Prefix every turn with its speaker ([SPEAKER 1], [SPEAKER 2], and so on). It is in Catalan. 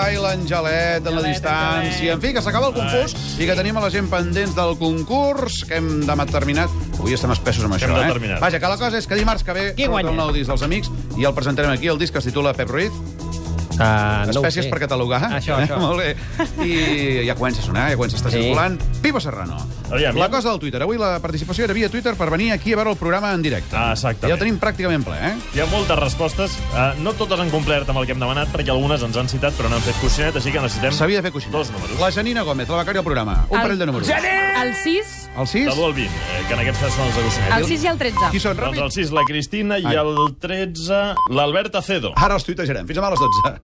[SPEAKER 1] l'Angelet, en la
[SPEAKER 2] Angelet, Angelet.
[SPEAKER 1] distància... En fi, que s'acaba el confús i que tenim a la gent pendents del concurs que hem demà terminat. Avui estem espessos amb això,
[SPEAKER 3] Hem
[SPEAKER 1] eh?
[SPEAKER 3] determinat.
[SPEAKER 1] Vaja, que la cosa és que dimarts que ve
[SPEAKER 2] Qui
[SPEAKER 1] surt
[SPEAKER 2] guanya?
[SPEAKER 1] el nou disc dels Amics i el presentarem aquí. El disc que es titula Pep Ruiz,
[SPEAKER 4] Ah, no ho
[SPEAKER 1] Espècies
[SPEAKER 4] sé.
[SPEAKER 1] per catalogar.
[SPEAKER 4] Això,
[SPEAKER 1] eh?
[SPEAKER 4] això.
[SPEAKER 1] Molt bé. I ja comença a sonar, ja comença a estar
[SPEAKER 4] Sí.
[SPEAKER 1] circulant. Viva Serrano.
[SPEAKER 3] Aviam,
[SPEAKER 1] la
[SPEAKER 3] ja.
[SPEAKER 1] cosa del Twitter. Avui la participació era via Twitter per venir aquí a veure el programa en directe.
[SPEAKER 3] Ah, exactament.
[SPEAKER 1] Ja ho tenim pràcticament ple, eh?
[SPEAKER 3] Hi ha moltes respostes. Uh, no totes han complert amb el que hem demanat, perquè algunes ens han citat, però no han fet coixinet, així que necessitem...
[SPEAKER 1] S'havia de fer coixinet.
[SPEAKER 3] Dos números.
[SPEAKER 1] La Janina Gómez, la becària del programa. Un
[SPEAKER 2] El-
[SPEAKER 1] parell de números.
[SPEAKER 2] El 6,
[SPEAKER 1] El
[SPEAKER 3] De
[SPEAKER 1] 6?
[SPEAKER 3] l'1 al 20, eh, que en aquest cas són els de coixinet.
[SPEAKER 2] el 6 i el 13.
[SPEAKER 1] Qui són?
[SPEAKER 3] Doncs el
[SPEAKER 1] Ràpid.
[SPEAKER 3] 6, la Cristina, i
[SPEAKER 1] Ai.
[SPEAKER 3] el 13, l'Albert Acedo.
[SPEAKER 1] Ara els tuitejarem. Fins demà a les 12.